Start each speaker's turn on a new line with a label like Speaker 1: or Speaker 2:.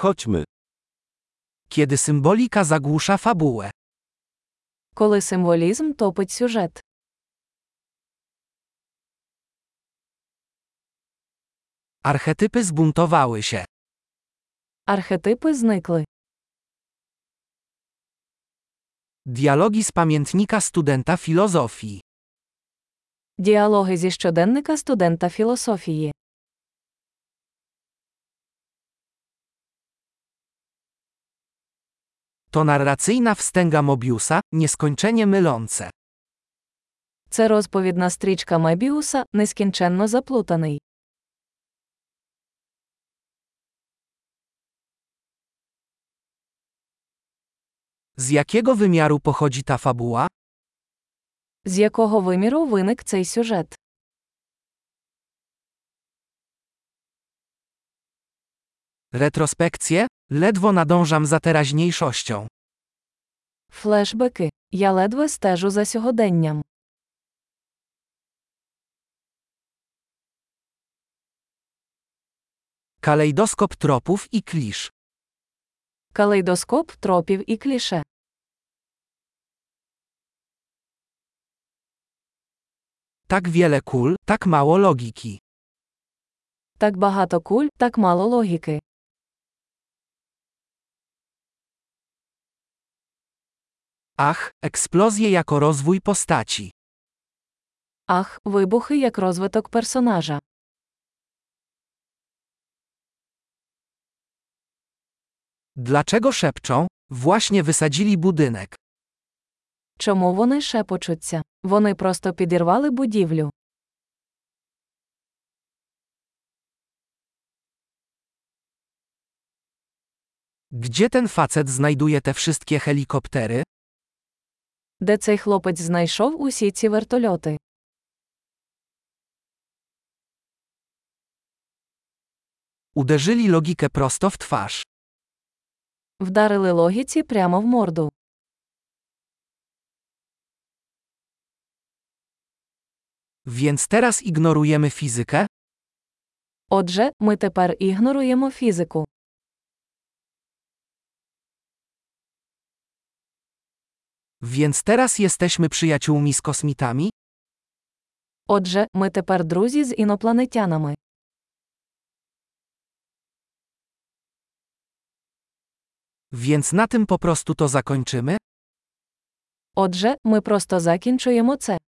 Speaker 1: Chodźmy. Kiedy symbolika zagłusza fabułę.
Speaker 2: Коли символізм топить сюжет.
Speaker 1: Archetypy zbuntowały się.
Speaker 2: Архетипи зникли.
Speaker 1: Dialogi z pamiętnika studenta filozofii.
Speaker 2: Діалоги зі щоденника студента філософії.
Speaker 1: To narracyjna wstęga Mobiusa, nieskończenie mylące.
Speaker 2: Це розповідна стрічка Мебіуса, нескінченно заплутаний.
Speaker 1: Z jakiego wymiaru pochodzi ta fabuła?
Speaker 2: З якого виміру виник цей сюжет?
Speaker 1: Retrospekcje? Ledwo nadążam za teraźniejszością.
Speaker 2: Флешбеки. Я ледве стежу за сьогоденням.
Speaker 1: Kalejdoskop tropów i klisz.
Speaker 2: Калейдоскоп тропів і кліше.
Speaker 1: Tak wiele kul, tak mało logiki.
Speaker 2: Так багато куль, так мало логіки.
Speaker 1: Ach, eksplozje jako rozwój postaci.
Speaker 2: Ах, вибухи як розвиток персонажа.
Speaker 1: Dlaczego szepczą? Właśnie wysadzili budynek.
Speaker 2: Чому вони шепочуться? Вони просто підірвали будівлю.
Speaker 1: Gdzie ten facet znajduje te wszystkie helikoptery?
Speaker 2: Де цей хлопець знайшов усі ці вертольоти?
Speaker 1: Uderzyli logikę prosto w twarz.
Speaker 2: Вдарили логіці прямо в морду.
Speaker 1: Więc teraz ignorujemy fizykę?
Speaker 2: Отже, ми тепер ігноруємо фізику.
Speaker 1: Więc teraz jesteśmy przyjaciółmi z kosmitami?
Speaker 2: Отже, ми тепер друзі з інопланетянами.
Speaker 1: Więc na tym po prostu to zakończymy?
Speaker 2: Отже, ми просто закінчуємо це.